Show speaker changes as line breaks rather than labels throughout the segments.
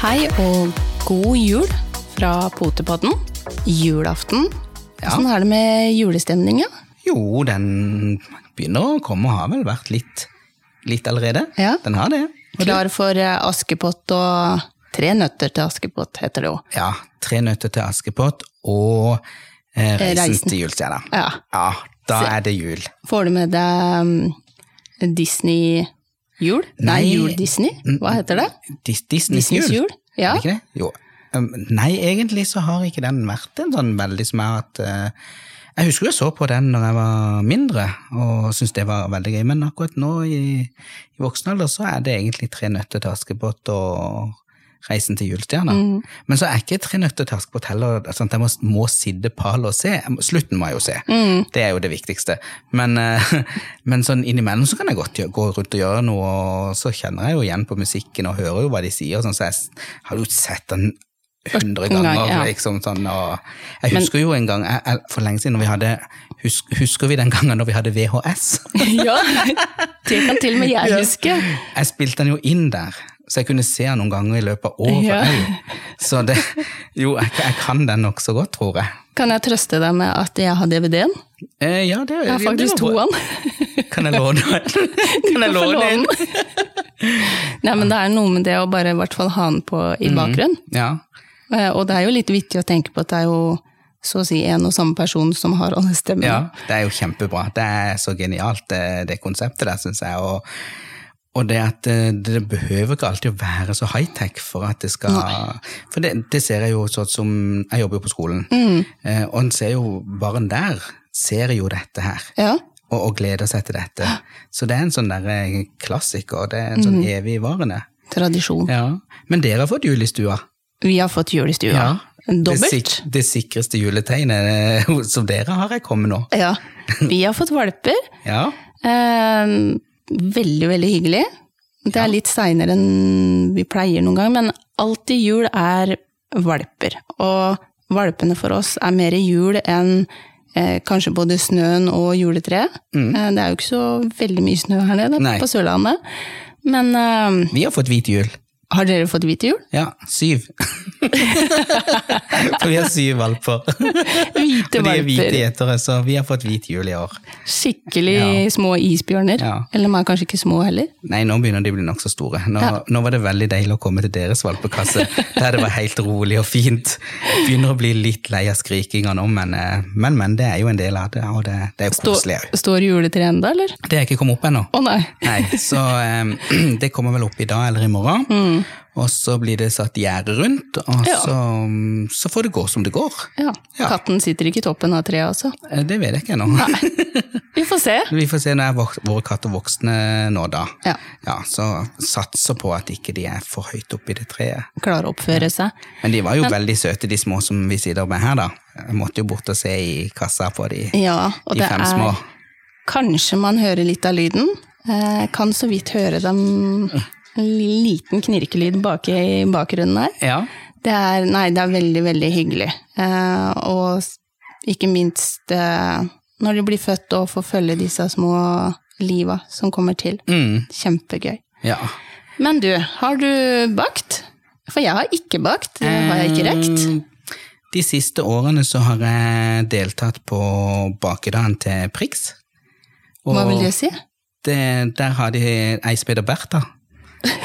Hei og god jul fra Potepodden. Julaften. Hvordan er det med julestemninga?
Jo, den begynner å komme og har vel vært litt, litt allerede.
Ja.
Den har det. Og det-
Klar for eh, Askepott og Tre nøtter til Askepott, heter det jo.
Ja, Tre nøtter til Askepott og eh,
Eh,
Reisen,
Reisen.
til julestjerna.
Ja.
Ja, da
Se.
er det jul.
Får du med deg mm, Disney-jul? Nei,
Nei. Mm.
Jul-Disney? Hva heter det?
Dis Disneys,
Disneys jul, ja.
Er det ikke det? Jo. Um, Nei, egentlig så har ikke den vært en sånn veldig som er at eh, Jeg husker jeg så på den når jeg var mindre, og syntes det var veldig gøy, men akkurat nå i, i voksen alder så er det egentlig Tre nøtter til Askepott og Reisen til julestjerna.
Mm.
Men så er ikke Tre nøtter til Askepott heller sant? sånn Jeg må, må sitte pal og se. Jeg må- Slutten må jeg jo se.
Mm.
Det er jo det viktigste. Men, eh, men sånn innimellom så kan jeg godt gjø- gå rundt og gjøre noe, og så kjenner jeg jo igjen på musikken og hører jo hva de sier, og sånn, så jeg s- har jo sett den hundre
Ørten
ganger.
gang, ja.
liksom sånn, og jeg husker jo en gang, jeg, jeg, for lenge siden, når vi hadde, husk, husker vi den gangen når vi hadde VHS?
ja, det kan til og med jeg huske.
Jeg spilte den jo inn der, så jeg kunne se den noen ganger i løpet av året.
Ja.
jeg. Så det, jo, jeg, jeg kan den nok så godt, tror jeg.
Kan jeg trøste deg med at jeg har DVD-en?
Eh, ja, det,
Jeg har faktisk to av den.
Kan jeg låne den? Kan jeg
Hvorfor
låne den?
låne den? Nei, men det er noe med det å bare i hvert fall ha den på
Mm.
i bakgrunnen.
Ja.
Eh, Og det er jo litt vittig å tenke på at det er jo så å si en og samme person som har alle stemmene.
Ja, det er jo kjempebra. Det er så genialt, det, det konseptet der, syns jeg. Og, og det at eh, det behøver ikke alltid å være så high-tech for at det skal For det, det ser jeg jo sånn som Jeg jobber jo på skolen,
Mm.
eh, og en ser jo barn der ser jo dette her.
Ja.
Og, og gleder seg til dette. Så det er en sånn der eh, klassiker. Det er en sånn
Mhm.
evigvarende.
Tradisjon.
Ja. Men dere har fått jul i stua.
Vi har fått jul i stua.
Det,
Dobbelt.
sik det sikreste juletegnet eh, som dere har, er kommet nå.
Ja. Vi har fått valper.
Ja.
Eh, veldig, veldig hyggelig. Det er litt seinere enn vi pleier noen gang, men alt i jul er valper. Og valpene for oss er mer jul enn eh, kanskje både snøen og juletreet. Eh, det er jo ikke så veldig mye snø her nede
Mm. Nei.
på Sørlandet. Men eh,
Vi har fått hvit jul.
har dere fått hvite jul?
Ja, syv. For vi har syv valper.
Hvite
Og de er hvite
valper.
gjetere, så vi har fått hvit jul i år.
Skikkelig små isbjørner.
Ja.
Eller de er kanskje ikke små heller.
Nei, nå begynner de å bli nokså store. Nå, nå var det veldig deilig å komme til deres valpekasse, der det var helt rolig og fint. Begynner å bli litt lei av skrikinga nå, men, eh, men, men det er jo en del av det, og det, det er jo
Stå,
koselig òg.
står juletreet ennå, eller?
Det er ikke kommet opp ennå.
Å nei.
Nei, så eh, det kommer vel opp i dag eller i morgen. Og så blir det satt gjerde rundt, og
Mm. Ja.
så, så får det gå som det går.
Ja.
Ja.
Katten sitter ikke i toppen av treet, altså.
Eh, Det vet jeg ikke ennå.
Vi får se.
Vi får se når er vok- våre katter voksne nå, da.
Ja.
Så satser på at ikke de er for høyt oppi det treet.
Klare å oppføre seg.
Men de var jo veldig søte, de små som vi sitter med her, da. Jeg måtte jo bort og se i kassa på de,
Ja, og
de
det
fem små.
er Kanskje man hører litt av lyden. Eh, kan så vidt høre dem en liten knirkelyd bak i bakgrunnen her.
Ja.
Det er, nei, det er veldig, veldig hyggelig. Eh, og s- ikke minst eh, når de blir født og får følge disse små liva som kommer til. Kjempegøy.
Mm. ja.
Men du, har du bakt? For jeg har ikke bakt. Det har jeg ikke rekt.
Mm. Eh, De siste årene så har jeg deltatt på bakedagen til Prix. Og
Hva vil det si?
det, der har de ei speider Bertha.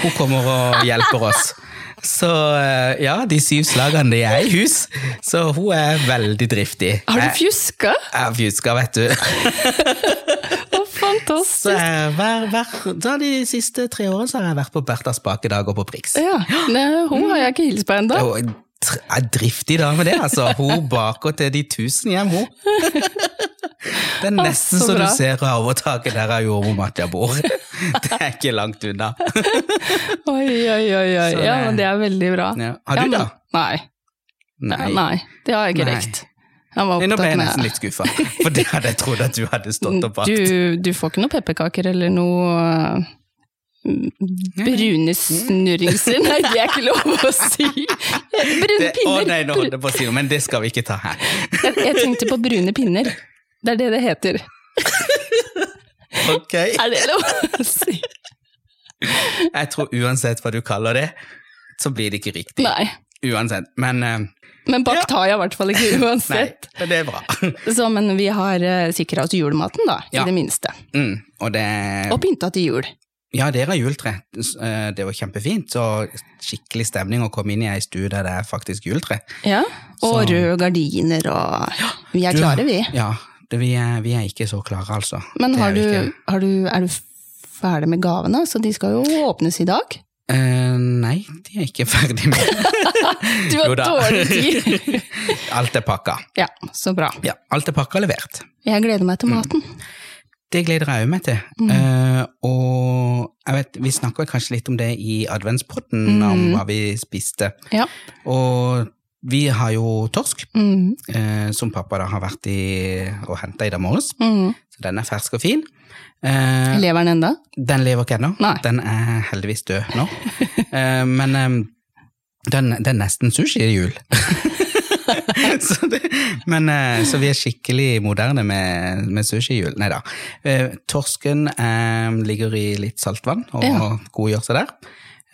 Hun kommer og hjelper oss. Så eh, ja, de syv slagene de er i hus, så hun er veldig driftig.
Har du
Jeg-
fjuska?
Jeg har fjuska, vet du.
Å,
Så
fantastisk!
jeg, hver, hver, da de siste tre årene så har jeg vært på Berthas bakedag og på Prix.
Ja, Nei, hun har jeg ikke hilst på ennå.
Og en tr- en driftig dame, det, altså. Hun baker til de tusen hjem, hun. Det er nesten
så
så, du
bra.
ser overtaket der av jordmor Matja bor. Det er ikke langt unna.
Oi, oi, oi, oi.
Så
Ja,
det-
men det er veldig bra.
Ja. Har du
men-
da?
Nei. Nei. det har jeg ikke
Nei.
rekt. Han var
Nei, Nå ble
opptatt
jeg nesten
med
litt skuffa, for det hadde jeg trodd at du hadde stått og bakt.
du, du får ikke noe pepperkaker eller noe eh, brune snurringser. Nei, det er ikke lov å si! Brune
Det- Å
pinner!
nei, nå holdt jeg på å si noe, men det skal vi ikke ta her.
Jeg, jeg tenkte på brune pinner. Det er det det heter.
Ok,
Er det lov å si?
Jeg tror uansett hva du kaller det, så blir det ikke riktig.
Nei.
Uansett. Men eh,
Men bakt har jeg i hvert fall ikke
nei,
uansett.
det er bra.
Så, men vi har uh, sikra oss julematen, da,
Ja.
i det minste.
Mm, og det
Og pynta til jul.
Ja, dere har juletre. S- eh, Det var kjempefint. Så skikkelig stemning å komme inn i ei stue der det er faktisk juletre.
Ja. Og
Så-
røde gardiner og Vi er klare, vi.
Ja, det, vi, er, vi er ikke så klare, altså.
Men
Det er
har
vi
du,
ikke.
har du, er du ferdig med gavene? Så de skal jo åpnes i dag.
Eh, Nei, de er ikke ferdig med
Du har
Jo da.
dårlig tid!
Alt er pakka.
ja, så bra.
Ja, alt er pakka og levert.
Jeg gleder meg til
Mm.
maten.
Det gleder jeg òg meg til.
Mm.
Eh, og jeg vet, vi snakka kanskje litt om det i adventspodden, om hva vi spiste.
Mm. Ja.
Og vi har jo torsk,
Mm.
eh, som pappa da har vært i og henta i dag morges.
Mm.
Så den er fersk og fin. Eh,
Lever den enda?
Den lever ikke ennå.
Nei.
Den er heldigvis død nå. Eh, Men eh, den, det er nesten sushi i jul. så, det, men, eh, så vi er skikkelig moderne med, med sushi i jul. Nei da. Eh, Torsken eh, ligger i litt saltvann og
Ja.
godgjør seg der.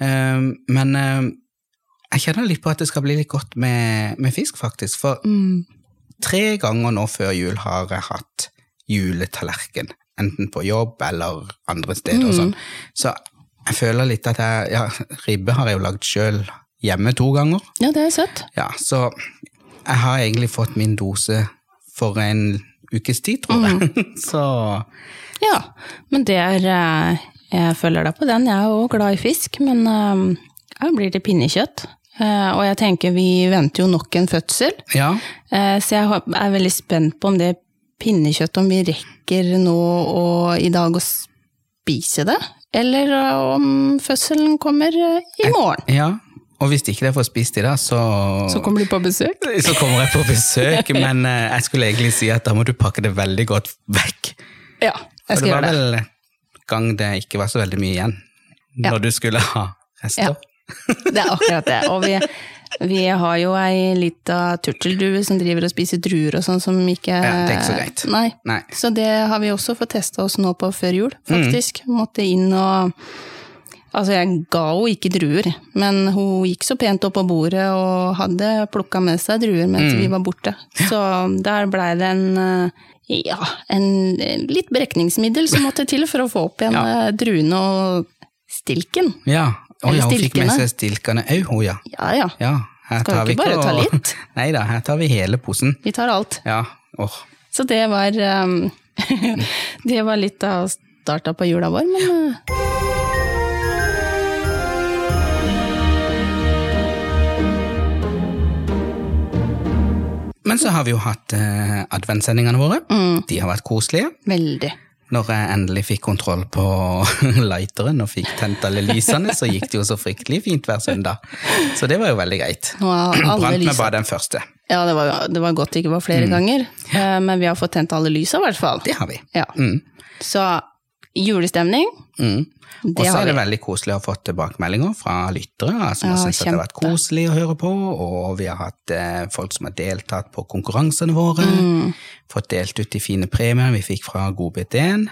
Eh, Men eh, jeg kjenner litt på at det skal bli litt godt med, med fisk, faktisk. For
Mm.
tre ganger nå før jul har jeg hatt juletallerken. Enten på jobb eller andre steder og sånn. Så jeg føler litt at jeg Ja, ribbe har jeg jo lagd sjøl hjemme to ganger.
Ja, det er søtt.
Ja, så jeg har egentlig fått min dose for en ukes tid, tror jeg. Så
Ja, men det er eh, Jeg følger deg på den. Jeg er òg glad i fisk, men eh, her blir det pinnekjøtt. Eh, Og jeg tenker vi venter jo nok en fødsel,
ja.
Eh, så jeg har- er veldig spent på om det pinnekjøttet Om vi rekker nå og i dag å spise det, eller eh, om fødselen kommer eh, i morgen.
ja. Og hvis ikke jeg får spist i dag, så
Så kommer du på besøk?
så kommer jeg på besøk, men eh, jeg skulle egentlig si at da må du pakke det veldig godt vekk.
Ja, jeg
For
skal gjøre
det var
det.
vel en gang det ikke var så veldig mye igjen,
Ja.
når du skulle ha rester.
Det er akkurat det. Og vi, vi har jo ei lita turteldue som driver og spiser druer og sånn, som ikke
Ja, det er ikke så greit.
Nei.
Nei.
Så det har vi også fått testa oss nå på før jul, faktisk. Måtte inn og Altså, jeg ga henne ikke druer, men hun gikk så pent opp på bordet og hadde plukka med seg druer mens vi var borte. Så der blei det en eh, ja, en en litt brekningsmiddel som måtte til for å få opp igjen eh, druene og stilken.
Ja. Å ja, hun fikk med
stilkene.
seg stilkene òg, hun, ja.
Ja ja.
ja her
Skal jo ikke bare ta litt.
Nei da, her tar vi hele posen.
Vi tar alt.
Ja. Åh.
Så det var ehm, Det var litt av starta på jula vår, men eh,
Men så har vi jo hatt eh, adventssendingene våre.
Mm.
De har vært koselige.
veldig.
Når jeg endelig fikk kontroll på lighteren og fikk tent alle lysene, så gikk det jo så fryktelig fint hver søndag. Så det var jo veldig greit.
Nå er alle
Brant meg
lysa
bare den første.
Ja, det var, det var godt det ikke var flere
Mm.
ganger, eh, men vi har fått tent alle lysa, i hvert fall.
Det har vi.
Ja.
Mm.
Så julestemning,
Mm. Og
det
så
har
er det
vi.
veldig koselig å ha fått tilbakemeldinger fra lyttere eh, som
Ja,
har syntes at det har vært
kjempe.
koselig å høre på, og vi har hatt eh, folk som har deltatt på konkurransene våre,
Mm.
fått delt ut de fine premiene vi fikk fra GodBT1.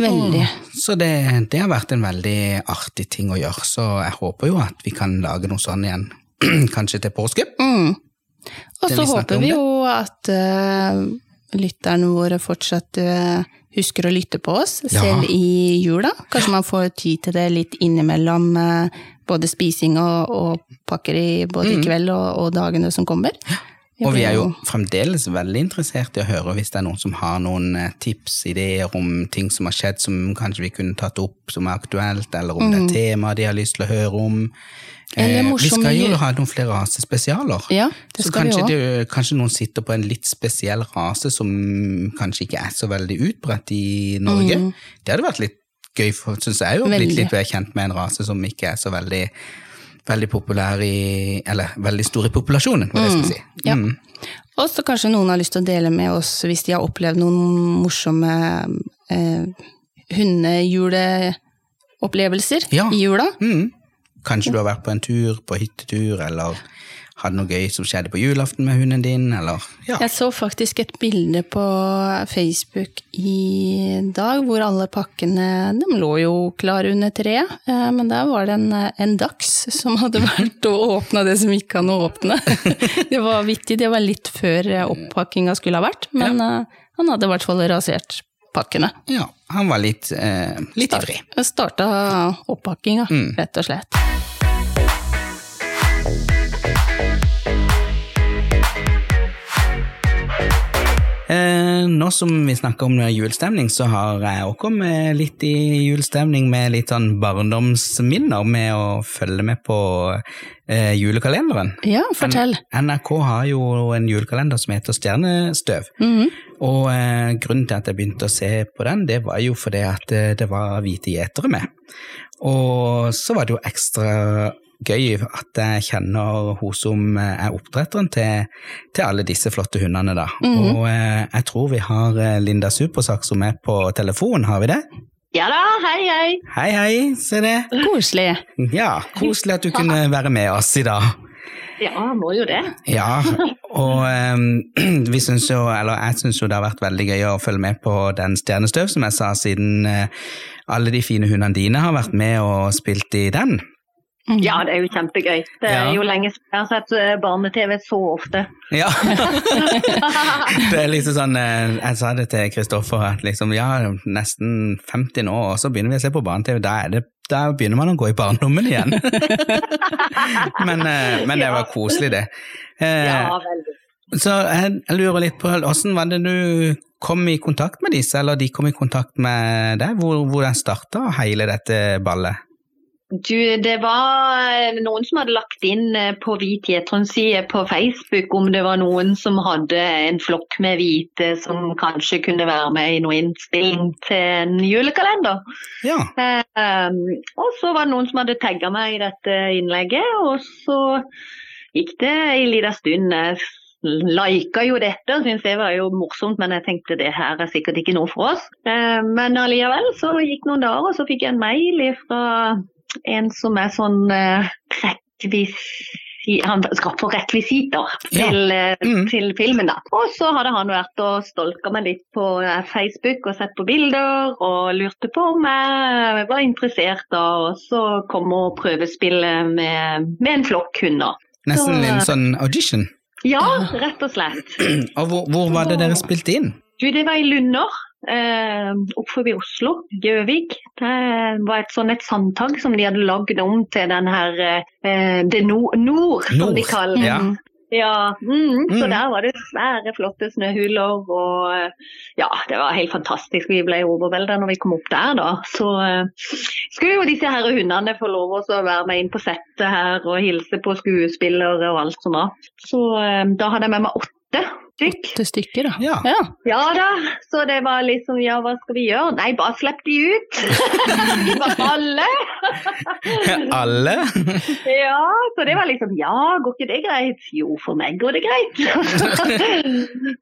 Veldig.
Så det, det har vært en veldig artig ting å gjøre, så jeg håper jo at vi kan lage noe sånn igjen, kanskje til påske.
Og så
det vi snakker
håper
om
vi
det.
jo at eh, lytterne våre fortsatt eh, husker å lytte på oss,
Ja.
selv i jula. Kanskje man får tid til det litt innimellom eh, både spising og, og pakker i både i kveld og, og dagene som kommer.
Mm. Og vi
blir
er jo fremdeles veldig interessert i å høre hvis det er noen som har noen eh, tips, ideer om ting som har skjedd som kanskje vi kunne tatt opp som er aktuelt, eller om
Mhm.
det er tema de har lyst til å høre om.
Eller
Eh, vi
morsomme
skal
jul-
jo ha noen flere rasespesialer.
Ja, det
Så
skal vi
kanskje,
òg.
det, kanskje noen sitter på en litt spesiell rase som kanskje ikke er så veldig utbredt i Norge. Det hadde vært litt gøy, syns jeg, å
Mhm.
bli
Veldig.
litt mer kjent med en rase som ikke er så veldig, veldig populær i Eller veldig stor i populasjonen, var det jeg skulle si.
Mhm. Ja. Og så kanskje noen har lyst til å dele med oss hvis de har opplevd noen morsomme eh, hundejuleopplevelser
Ja.
i jula.
Mm. Kanskje du har vært på en tur, på hyttetur, eller hadde noe gøy som skjedde på julaften med hunden din, eller ja.
Jeg så faktisk et bilde på Facebook i dag hvor alle pakkene de lå jo klar under treet, eh, men der var det en, eh, en dachs som hadde vært og åpna det som gikk an å åpne. Det var vittig, det var litt før eh, oppakkinga skulle ha vært, men eh, han hadde i hvert fall rasert pakkene.
ja. Han var litt, eh, litt ivrig.
Starta oppakkinga,
Mm.
rett og slett.
Eh, nå som vi snakker om julestemning, så har jeg også kommet litt i julestemning med litt sånn barndomsminner med å følge med på eh, julekalenderen.
Ja, fortell.
NRK har jo en julekalender som heter Stjernestøv.
Mhm.
Og eh, grunnen til at jeg begynte å se på den, det var jo fordi at eh, det var hvite gjetere med. Og så var det jo ekstra gøy at jeg kjenner hun som eh, er oppdretteren til, til alle disse flotte hundene, da. Og eh, jeg tror vi har eh, Linda Supersak som er på telefon, har vi det?
Ja da, hei, hei.
Hei, hei, se det.
Koselig.
Ja, koselig at du kunne være med oss i dag.
Ja, må jo det.
Ja, og eh, vi synes jo, eller jeg syns jo det har vært veldig gøy å følge med på den Stjernestøv, som jeg sa, siden eh, alle de fine hundene dine har vært med og spilt i den.
Mhm.
Ja, det er jo kjempegøy. Det er
Mm. Ja.
jo lenge siden jeg har sett eh, barne-TV så ofte.
Ja, det er liksom sånn eh, Jeg sa det til Kristoffer at liksom, ja, nesten 50 nå, og så begynner vi å se på barne-TV. Da, er det- da begynner man å gå i barndommen igjen. men, eh, men det var koselig, det. Eh,
Ja, veldig.
Så jeg jeg lurer litt på hvordan var det du kom i kontakt med disse, eller de kom i kontakt med deg? Hvor, hvordan starta hele dette ballet?
Du, det var eh, noen som hadde lagt inn eh, på Hvit Gjetrons side på Facebook om det var noen som hadde en flokk med hvite som kanskje kunne være med i noe innspilling til en julekalender.
Ja,
Eh, um, og så var det noen som hadde tagga meg i dette innlegget, og så gikk det en liten stund. Jeg lika jo dette og syntes det var jo morsomt, men jeg tenkte det her er sikkert ikke noe for oss. Eh, men allikevel så gikk noen dager, og så fikk jeg en mail fra en som er sånn eh, rekvis... Han skaffer rekvisitter
Ja.
til, eh,
Mm.
til filmen, da. Og så hadde han vært og stolka meg litt på eh, Facebook og sett på bilder og lurte på om jeg var interessert, da. Og så kom og prøvespille med, med en flokk hunder.
Nesten en sånn audition.
Ja,
Ah.
rett og slett.
Og hvor, hvor var det dere spilte inn?
Du, det var i Lunder. Eh, opp forbi Oslo, Gjøvik. Det var et sånn et sandtag som de hadde lagd om til den her eh, Det no nord, som de
Nord,
kaller det.
Ja.
Ja, mm, så
Mm.
der var det svære, flotte snøhuler, og eh, ja, det var helt fantastisk. Vi ble overvelda når vi kom opp der, da. Så eh, skulle jo disse her hundene få lov også å være med inn på settet her og hilse på skuespillere og alt som var. Så eh, da hadde jeg med meg åtte stykk.
Til stykker, da.
Ja.
ja.
Ja da, så det var liksom ja, hva skal vi gjøre? Nei, bare slipp de ut! de var alle!
Alle?
Ja, så det var liksom ja, går ikke det greit? Jo, for meg går det greit.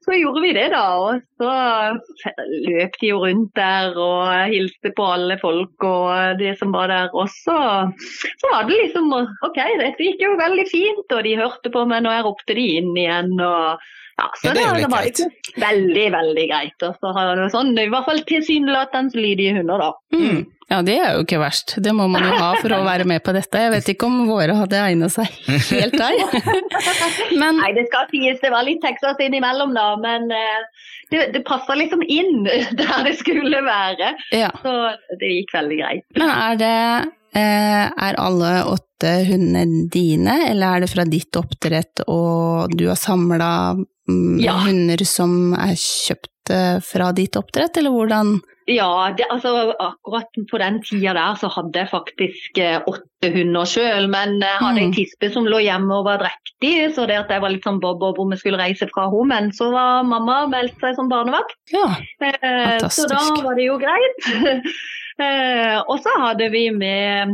så gjorde vi det, da. Og så løp de jo rundt der og hilste på alle folk og det som var der. Og så, så var det liksom OK, dette gikk jo veldig fint, og de hørte på meg når jeg ropte de inn igjen. og ja, så
Ja, det er jo
da-
litt
da var det
greit.
ikke veldig, veldig greit. Og så har det sånn, i hvert fall tilsynelatende lydige hunder, da.
Mm. Ja, det er jo ikke verst. Det må man jo ha for å være med på dette. Jeg vet ikke om våre hadde egna seg helt der. Men
Nei, det skal sies. Det var litt Texas innimellom, da. Men eh, det, det passa liksom inn der det skulle være.
ja.
Så det gikk veldig greit.
Men er det eh, Er alle åtte hundene dine, eller er det fra ditt oppdrett og du har samla mm,
Ja.
hunder som er kjøpt eh, fra ditt oppdrett, eller hvordan?
Ja, det, altså akkurat på den tida der så hadde jeg faktisk eh, åtte hunder sjøl. Men jeg hadde
Mm.
en tispe som lå hjemme og var drektig, så det at jeg var litt sånn bob-bob om jeg skulle reise fra henne. Men så var mamma meldt seg som barnevakt.
Ja.
Eh, Så
Fantastisk.
da var det jo greit. Eh, Og så hadde vi med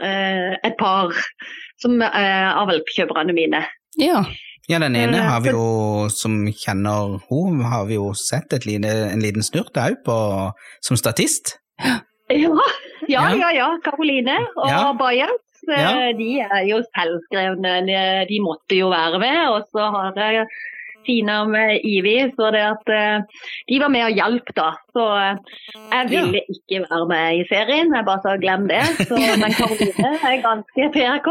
eh, et par som, eh, av valpkjøperne mine.
ja.
Ja, den ene har vi jo, som kjenner hun, har vi jo sett et lite, en liten snurt òg på, som statist.
Ja, ja,
Ja.
ja. ja Karoline og
Ja.
Bayern.
Ja.
eh, de er jo selvskrevne. De, de måtte jo være med. Og så har jeg Tina med Ivi, så det at eh, de var med og hjalp, da. Så eh, jeg ville ikke være med i serien, jeg bare sa glem det. Så, men Karoline er ganske PRK.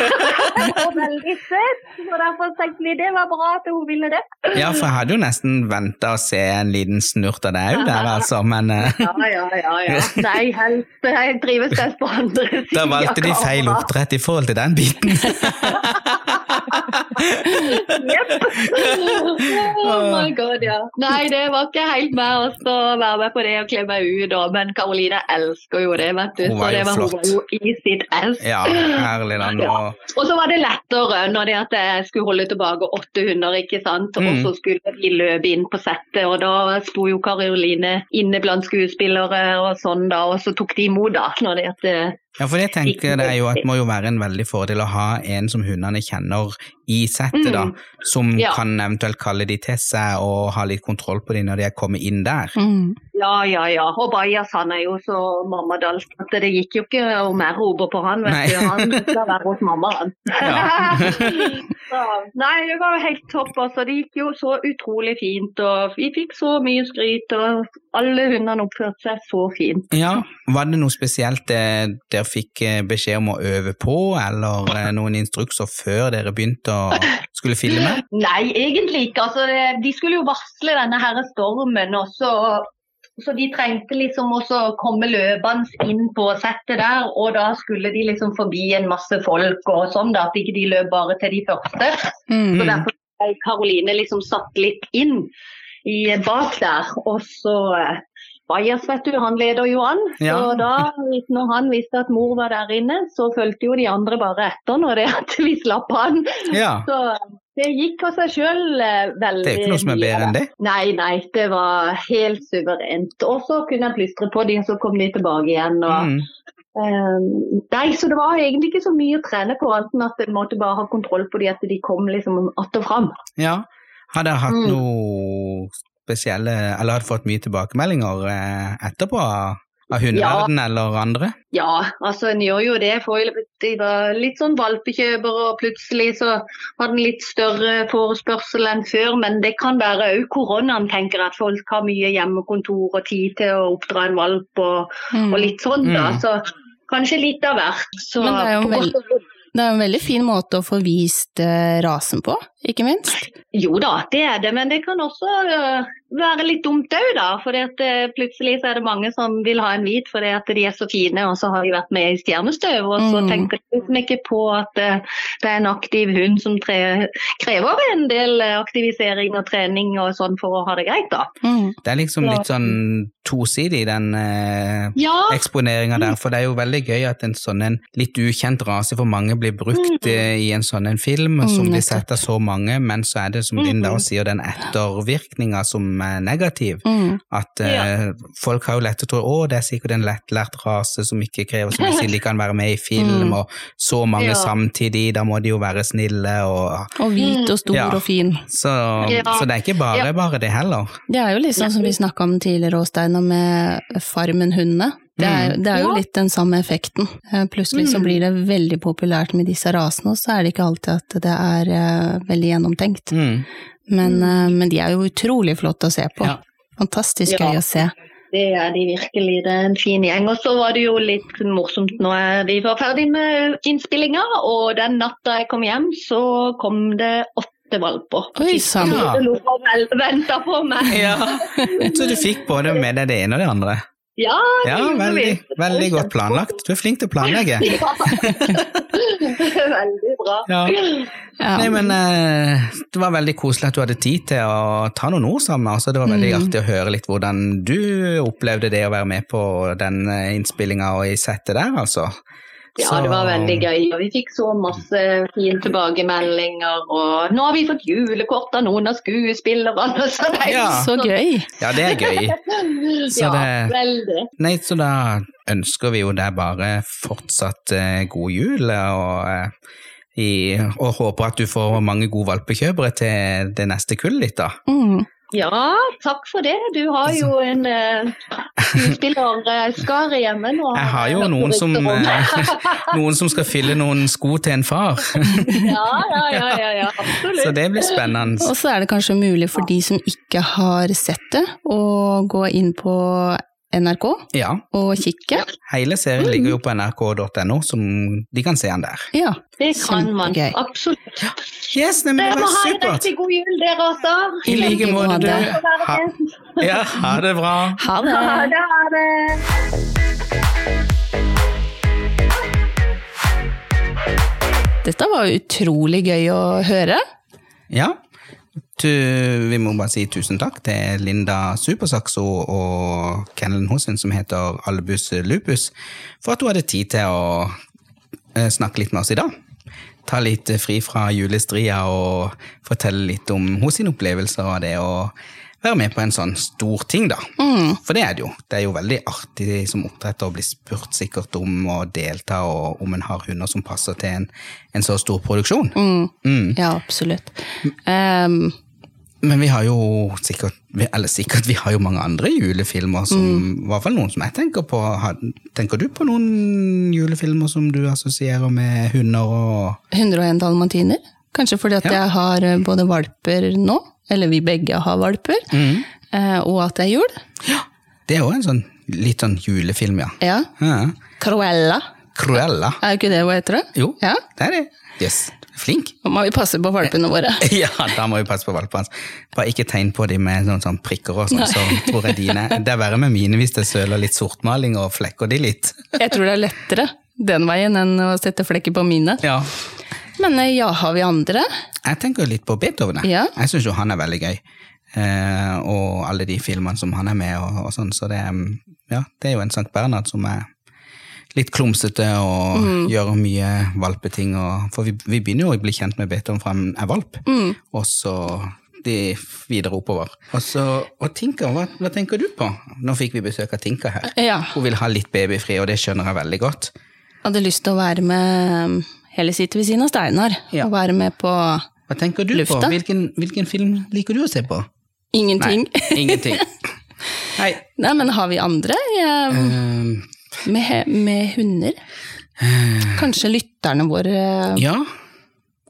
og veldig søt, så derfor tenkte vi det var bra at hun ville det.
Ja, for jeg hadde jo nesten venta å se en liten snurt av deg òg der, altså, men eh,
Ja, ja, ja. ja. Nei, helst, jeg trives best på andre siden.
da valgte de
av
feil
kamera.
oppdrett i forhold til den biten.
Jepp. Oh my god, ja. Nei, det var ikke helt meg også å være med på det og kle meg ut, og, men Karoline elsker jo det, vet du.
Hun var
så det
jo
var hun
flott.
var jo i sitt ess.
Ja, herlig da. Nå.
Og så var det lettere når det at jeg skulle holde tilbake 800, ikke sant. Og
Mm.
så skulle vi løpe inn på settet, og da sto jo Karoline inne blant skuespillere og sånn da, og så tok de imot da. når det at... eh,
Ja, for det tenker jeg jo at må jo være en veldig fordel å ha en som hundene kjenner i settet, da. Som
Ja.
kan eventuelt kalle de til seg og ha litt kontroll på de når de er kommet inn der.
Mm.
Ja, ja, ja. Og Bajas han er jo så mammadalsk at det gikk jo ikke å mer rope på han.
Nei.
vet du. Han skal være hos mamma, han.
Ja.
så, nei, det var jo helt topp. altså. Det gikk jo så utrolig fint. og Vi fikk så mye skryt. og Alle hundene oppførte seg så fint.
Ja, Var det noe spesielt eh, dere fikk eh, beskjed om å øve på, eller eh, noen instrukser før dere begynte å skulle filme?
Nei, egentlig ikke. Altså, det- de skulle jo varsle denne her stormen. og så... Så de trengte liksom også å komme løpende inn på settet der, og da skulle de liksom forbi en masse folk og sånn, da, at ikke de løp bare til de første.
Mm.
Så derfor ble Karoline liksom satt litt inn i, eh, bak der. Og så eh, Bajas, vet du, han leder jo an.
Ja.
Så da, hvis- når han visste at mor var der inne, så fulgte jo de andre bare etter når det at vi slapp han.
Ja,
Så det gikk av seg sjøl eh, veldig
det er jo ikke noe som er
mye.
bedre enn det.
Nei, nei, det var helt suverent. Og så kunne jeg plystre på de, og så kom de tilbake igjen. og...
Mm.
Eh, nei, så det var egentlig ikke så mye å trene på, annet enn at en måtte bare ha kontroll på de at de kom liksom att og fram.
Ja. Har dere hatt
Mm.
noe spesielle Eller har dere fått mye tilbakemeldinger eh, etterpå av av hundeverden eller andre?
Ja, altså en gjør jo det. For de var litt sånn valpekjøpere, og plutselig så var den litt større forespørsel enn før. Men det kan være òg koronaen, tenker jeg, at folk har mye hjemmekontor og tid til å oppdra en valp og,
Mm.
og litt sånn, da.
Mm.
Så kanskje litt av hvert. Så
Men det er jo
på godt og vondt.
Det er en veldig fin måte å få vist eh, rasen på, ikke minst.
Jo da, det er det, men det kan også øh, være litt dumt òg, da. For plutselig så er det mange som vil ha en hvit fordi at de er så fine, og så har de vært med i Stjernestøv. Og så
Mm.
tenker de liksom ikke på at øh, det er en aktiv hund som tre krever en del øh, aktivisering og trening og sånn for å ha det greit, da.
Mm.
Det er liksom
Ja. Ah.
litt sånn tosidig, den eh,
Ja,
eksponeringa der. For det er jo veldig gøy at en sånn en litt ukjent rase for mange blir brukt eh, i en sånn en film
Mm,
som blir
nettopp.
sett av så mange, men så er det som Linda også sier, den ettervirkninga som er negativ.
Mm.
At eh, folk har jo lett å tro å det er sikkert en lettlært rase som ikke krever så mye, de kan være med i film,
Mm.
og så mange
Ja. samtidig,
samtidig, da må de jo være snille og
Og hvit og stor
Ja.
og fin.
Så,
Ja.
så det er ikke bare
Ja.
bare det heller.
Det er jo litt sånn som vi snakka om tidligere, Åstein, og med Farmen-hundene. Det er,
Mm.
det er jo
Ja.
litt den samme effekten. Eh, Plutselig så
Mm.
blir det veldig populært med disse rasene, og så er det ikke alltid at det er eh, veldig gjennomtenkt.
Mm.
Men, eh, men de er jo utrolig flotte å se på.
Ja.
Fantastisk
Ja.
gøy å se.
det er de virkelig. Det er en fin gjeng. Og så var det jo litt morsomt når de var ferdig med innspillinga, og den natta jeg kom hjem, så kom det åtte valper.
Oi sann!
Ja.
Det lå og venta på meg.
Så du fikk både med deg det ene og det andre.
Ja,
Ja, veldig, veldig godt planlagt. Du er flink til å planlegge.
Ja. veldig bra.
Ja.
Ja.
Nei, men eh, det var veldig koselig at du hadde tid til å ta noen ord sammen. Altså, det var veldig
Mm.
artig å høre litt hvordan du opplevde det å være med på den eh, innspillinga og i settet der, altså.
Ja,
Så-
det var veldig gøy. Og vi fikk så masse fine tilbakemeldinger. Og nå har vi fått julekort av noen av skuespillerne. Så det er jo
Ja.
Så gøy!
Ja, det er gøy. Så
ja,
det-
veldig.
Nei, så da ønsker vi jo deg bare fortsatt eh, god jul, og, eh, i, og håper at du får mange gode valpekjøpere til det neste kullet ditt, da.
Mm.
Ja, takk for det. Du har
Altså.
jo en uh, skuespillerskare hjemme nå.
Jeg har jo noen som, eh, noen som skal fylle noen sko til en far,
Ja, ja, ja, ja, ja
så
absolutt.
det blir spennende.
Og så er det kanskje mulig for de som ikke har sett det, å gå inn på NRK
Ja,
og kikke.
hele
Mm.
serien ligger jo på nrk.no, som de kan se den der.
Ja.
Det kan man.
Kjempegøy.
Absolutt.
Yes, nei, men det
Dere må
var
ha en
supert!
riktig god jul, dere altså. også.
I like måte, du. Ha, ja, ha det bra.
Ha det!
Ha det, ha det.
Dette var utrolig gøy å høre.
Ja. Tu, vi må bare si tusen takk til Linda Supersaxo og kennelen hos henne som heter Albus Lupus, for at hun hadde tid til å eh, snakke litt med oss i dag. Ta litt eh, fri fra julestria og fortelle litt om hennes sine opplevelser av det å være med på en sånn stor ting, da. For det er det jo. Det er jo veldig artig som oppdretter å bli spurt sikkert om å delta, og om en har hunder som passer til en, en så stor produksjon.
Mm.
Mm.
Ja, absolutt. Ehm,
Men vi har jo sikkert, vi- eller sikkert, vi har jo mange andre julefilmer som, i hvert fall noen som jeg tenker på. Har- Tenker du på noen julefilmer som du assosierer med hunder og
101 dalmatiner. Kanskje fordi at
Ja.
jeg har eh, både valper nå, eller vi begge har valper,
Mm.
eh, og at det er jul.
Det er jo en sånn litt sånn julefilm, ja.
Ja.
ja.
Cruella,
Cruella.
er jo ikke det hva heter det?
Jo,
Ja.
det er det. Yes. Flink.
Nå må vi passe på valpene våre.
Ja, da må vi passe på valpene hans. Bare ikke tegn på dem med noen sånn prikker og sånn, så tror jeg dine Det er verre med mine hvis det søler litt sortmaling og flekker de litt.
Jeg tror det er lettere den veien enn å sette flekker på mine.
Ja.
Men eh, ja, har vi andre?
Jeg tenker jo litt på Beethoven. jeg.
Ja.
Jeg syns jo han er veldig gøy. Eh, og alle de filmene som han er med og, og sånn. Så det, er, mm, ja, det er jo en Sankt Bernhard som er litt klumsete og
Mm.
gjør mye valpeting. Og, for vi, vi begynner jo å bli kjent med Beethoven fra han er valp,
Mm.
og så de videre oppover. Og, så, og Tinka, hva, hva tenker du på? Nå fikk vi besøk av Tinka her.
Ja,
Hun vil ha litt babyfri, og det skjønner jeg veldig godt.
hadde lyst til å være med eh, Heller sitte ved siden av Steinar og være med på
Hva tenker du
Lufta?
på? Hvilken, hvilken film liker du å se på?
ingenting.
Nei, ingenting. Nei.
Nei, men har vi andre eh,
Ehm,
med, med hunder? Kanskje lytterne våre
ja.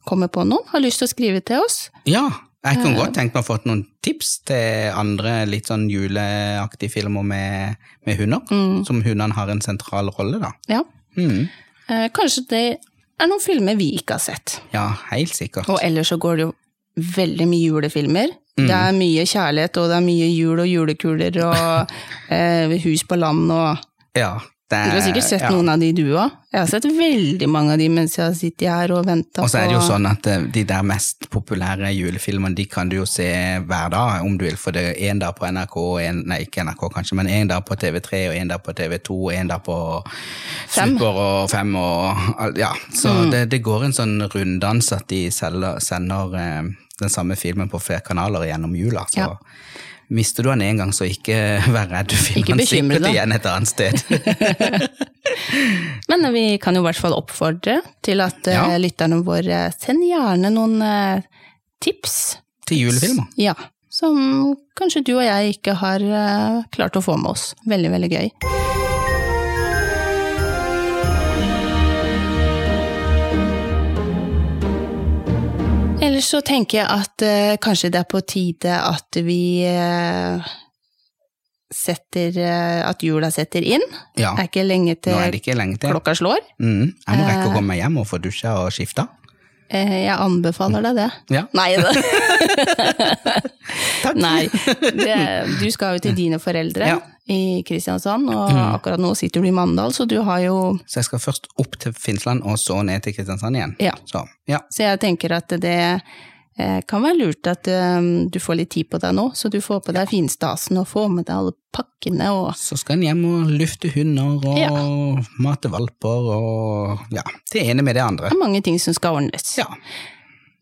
kommer på noen? Har lyst til å skrive til oss?
ja. Jeg kunne godt tenkt meg å få noen tips til andre litt sånn juleaktige filmer med, med hunder, som hundene har en sentral rolle, da.
Mm, Ja.
Mm.
Eh, Kanskje det er noen filmer vi ikke har sett.
Ja, helt sikkert.
Og ellers så går det jo veldig mye julefilmer. Det er mye kjærlighet, og det er mye jul og julekuler og eh, hus på land og
Ja, det
Du
er,
har sikkert sett
Eh, ja.
noen av de du òg. Jeg har sett veldig mange av de mens jeg har sittet her og venta
Og
på
så er det jo sånn at eh, de der mest populære julefilmene, de kan du jo se hver dag, om du vil, for det er én dag på NRK, og en, nei, ikke NRK kanskje, men én dag på TV3, og én dag på TV2, og én dag på
Fem.
Super og Fem, Mm. og all- ja. Så det, det går en sånn runddans at de selger, sender eh, den samme filmen på flere kanaler gjennom jula, så
Ja.
mister du den en gang, så ikke vær redd, du
Ikke
finner den
bekymre
sikkert
deg.
igjen et annet sted.
Men vi kan jo i hvert fall oppfordre til at eh,
Ja.
lytterne våre send gjerne noen eh, tips.
Til julefilmer.
Ja, som kanskje du og jeg ikke har eh, klart å få med oss. Veldig, veldig gøy. Ellers så tenker jeg at eh, kanskje det er på tide at vi eh, setter eh, At jula setter inn.
Ja,
Det er ikke lenge
nå er
til
det ikke lenge til.
klokka slår.
Mm. Jeg må rekke å komme meg hjem og få dusja og skifta.
Eh, Jeg anbefaler deg det.
Ja.
Nei da.
Takk.
Nei. Det, du skal jo til dine foreldre
Ja. Mm.
i Kristiansand, og akkurat nå sitter du i Mandal, så du har jo
Så jeg skal først opp til Finnsland, og så ned til Kristiansand igjen.
Ja.
Så, ja.
Så jeg tenker at det eh, kan være lurt at eh, du får litt tid på deg nå, så du får på deg finstasen og får med deg alle pakkene og
så skal en hjem og lufte hunder og mate valper og ja, det ene med det andre.
Det er mange ting som skal ordnes.
Ja.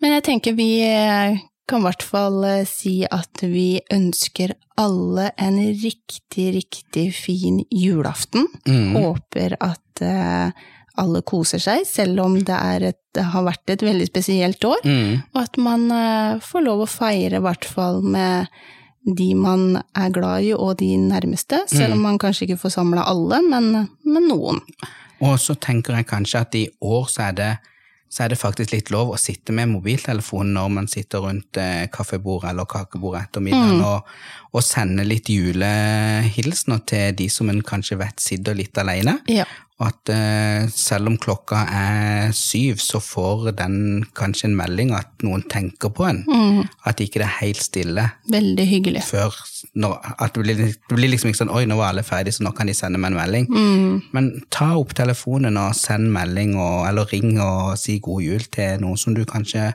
Men jeg tenker vi eh, kan i hvert fall eh, si at vi ønsker alle en riktig, riktig fin julaften.
Mm.
Håper at eh, alle koser seg, selv om det, er et, det har vært et veldig spesielt år.
Mm.
Og at man eh, får lov å feire i hvert fall med de man er glad i og de nærmeste, selv om man kanskje ikke får samla alle, men, men noen.
Og så tenker jeg kanskje at i år så er det, så er det faktisk litt lov å sitte med mobiltelefonen når man sitter rundt eh, kaffebordet eller kakebordet etter middagen,
Mm.
og, og sende litt julehilsener til de som en kanskje vet sitter litt alene.
Ja.
Og at eh, selv om klokka er syv, så får den kanskje en melding at noen tenker på en. At ikke det er helt stille
Mm, Veldig hyggelig.
før når, At det blir, det blir liksom ikke sånn 'oi, nå var alle ferdige, så nå kan de sende meg en melding'.
Mm.
Men ta opp telefonen og send melding, og, eller ring og si god jul til noen som du kanskje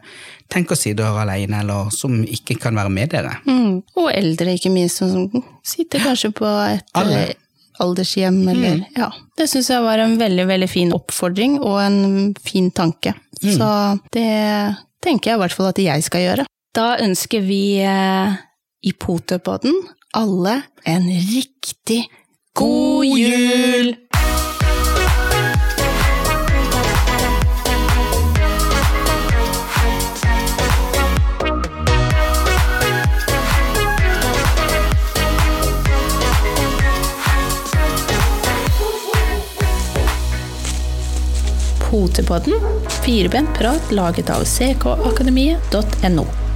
tenker sitter alene, eller som ikke kan være med dere.
Mm. Og eldre, ikke minst, som sitter kanskje på et
Alle.
eh, aldershjem eller Ja. Det syns jeg var en veldig, veldig fin oppfordring og en fin tanke. Så det tenker jeg i hvert fall at jeg skal gjøre. Da ønsker vi eh, i Potepodden alle en riktig god jul! Potepodden, firbent prat laget av ckakademiet.no.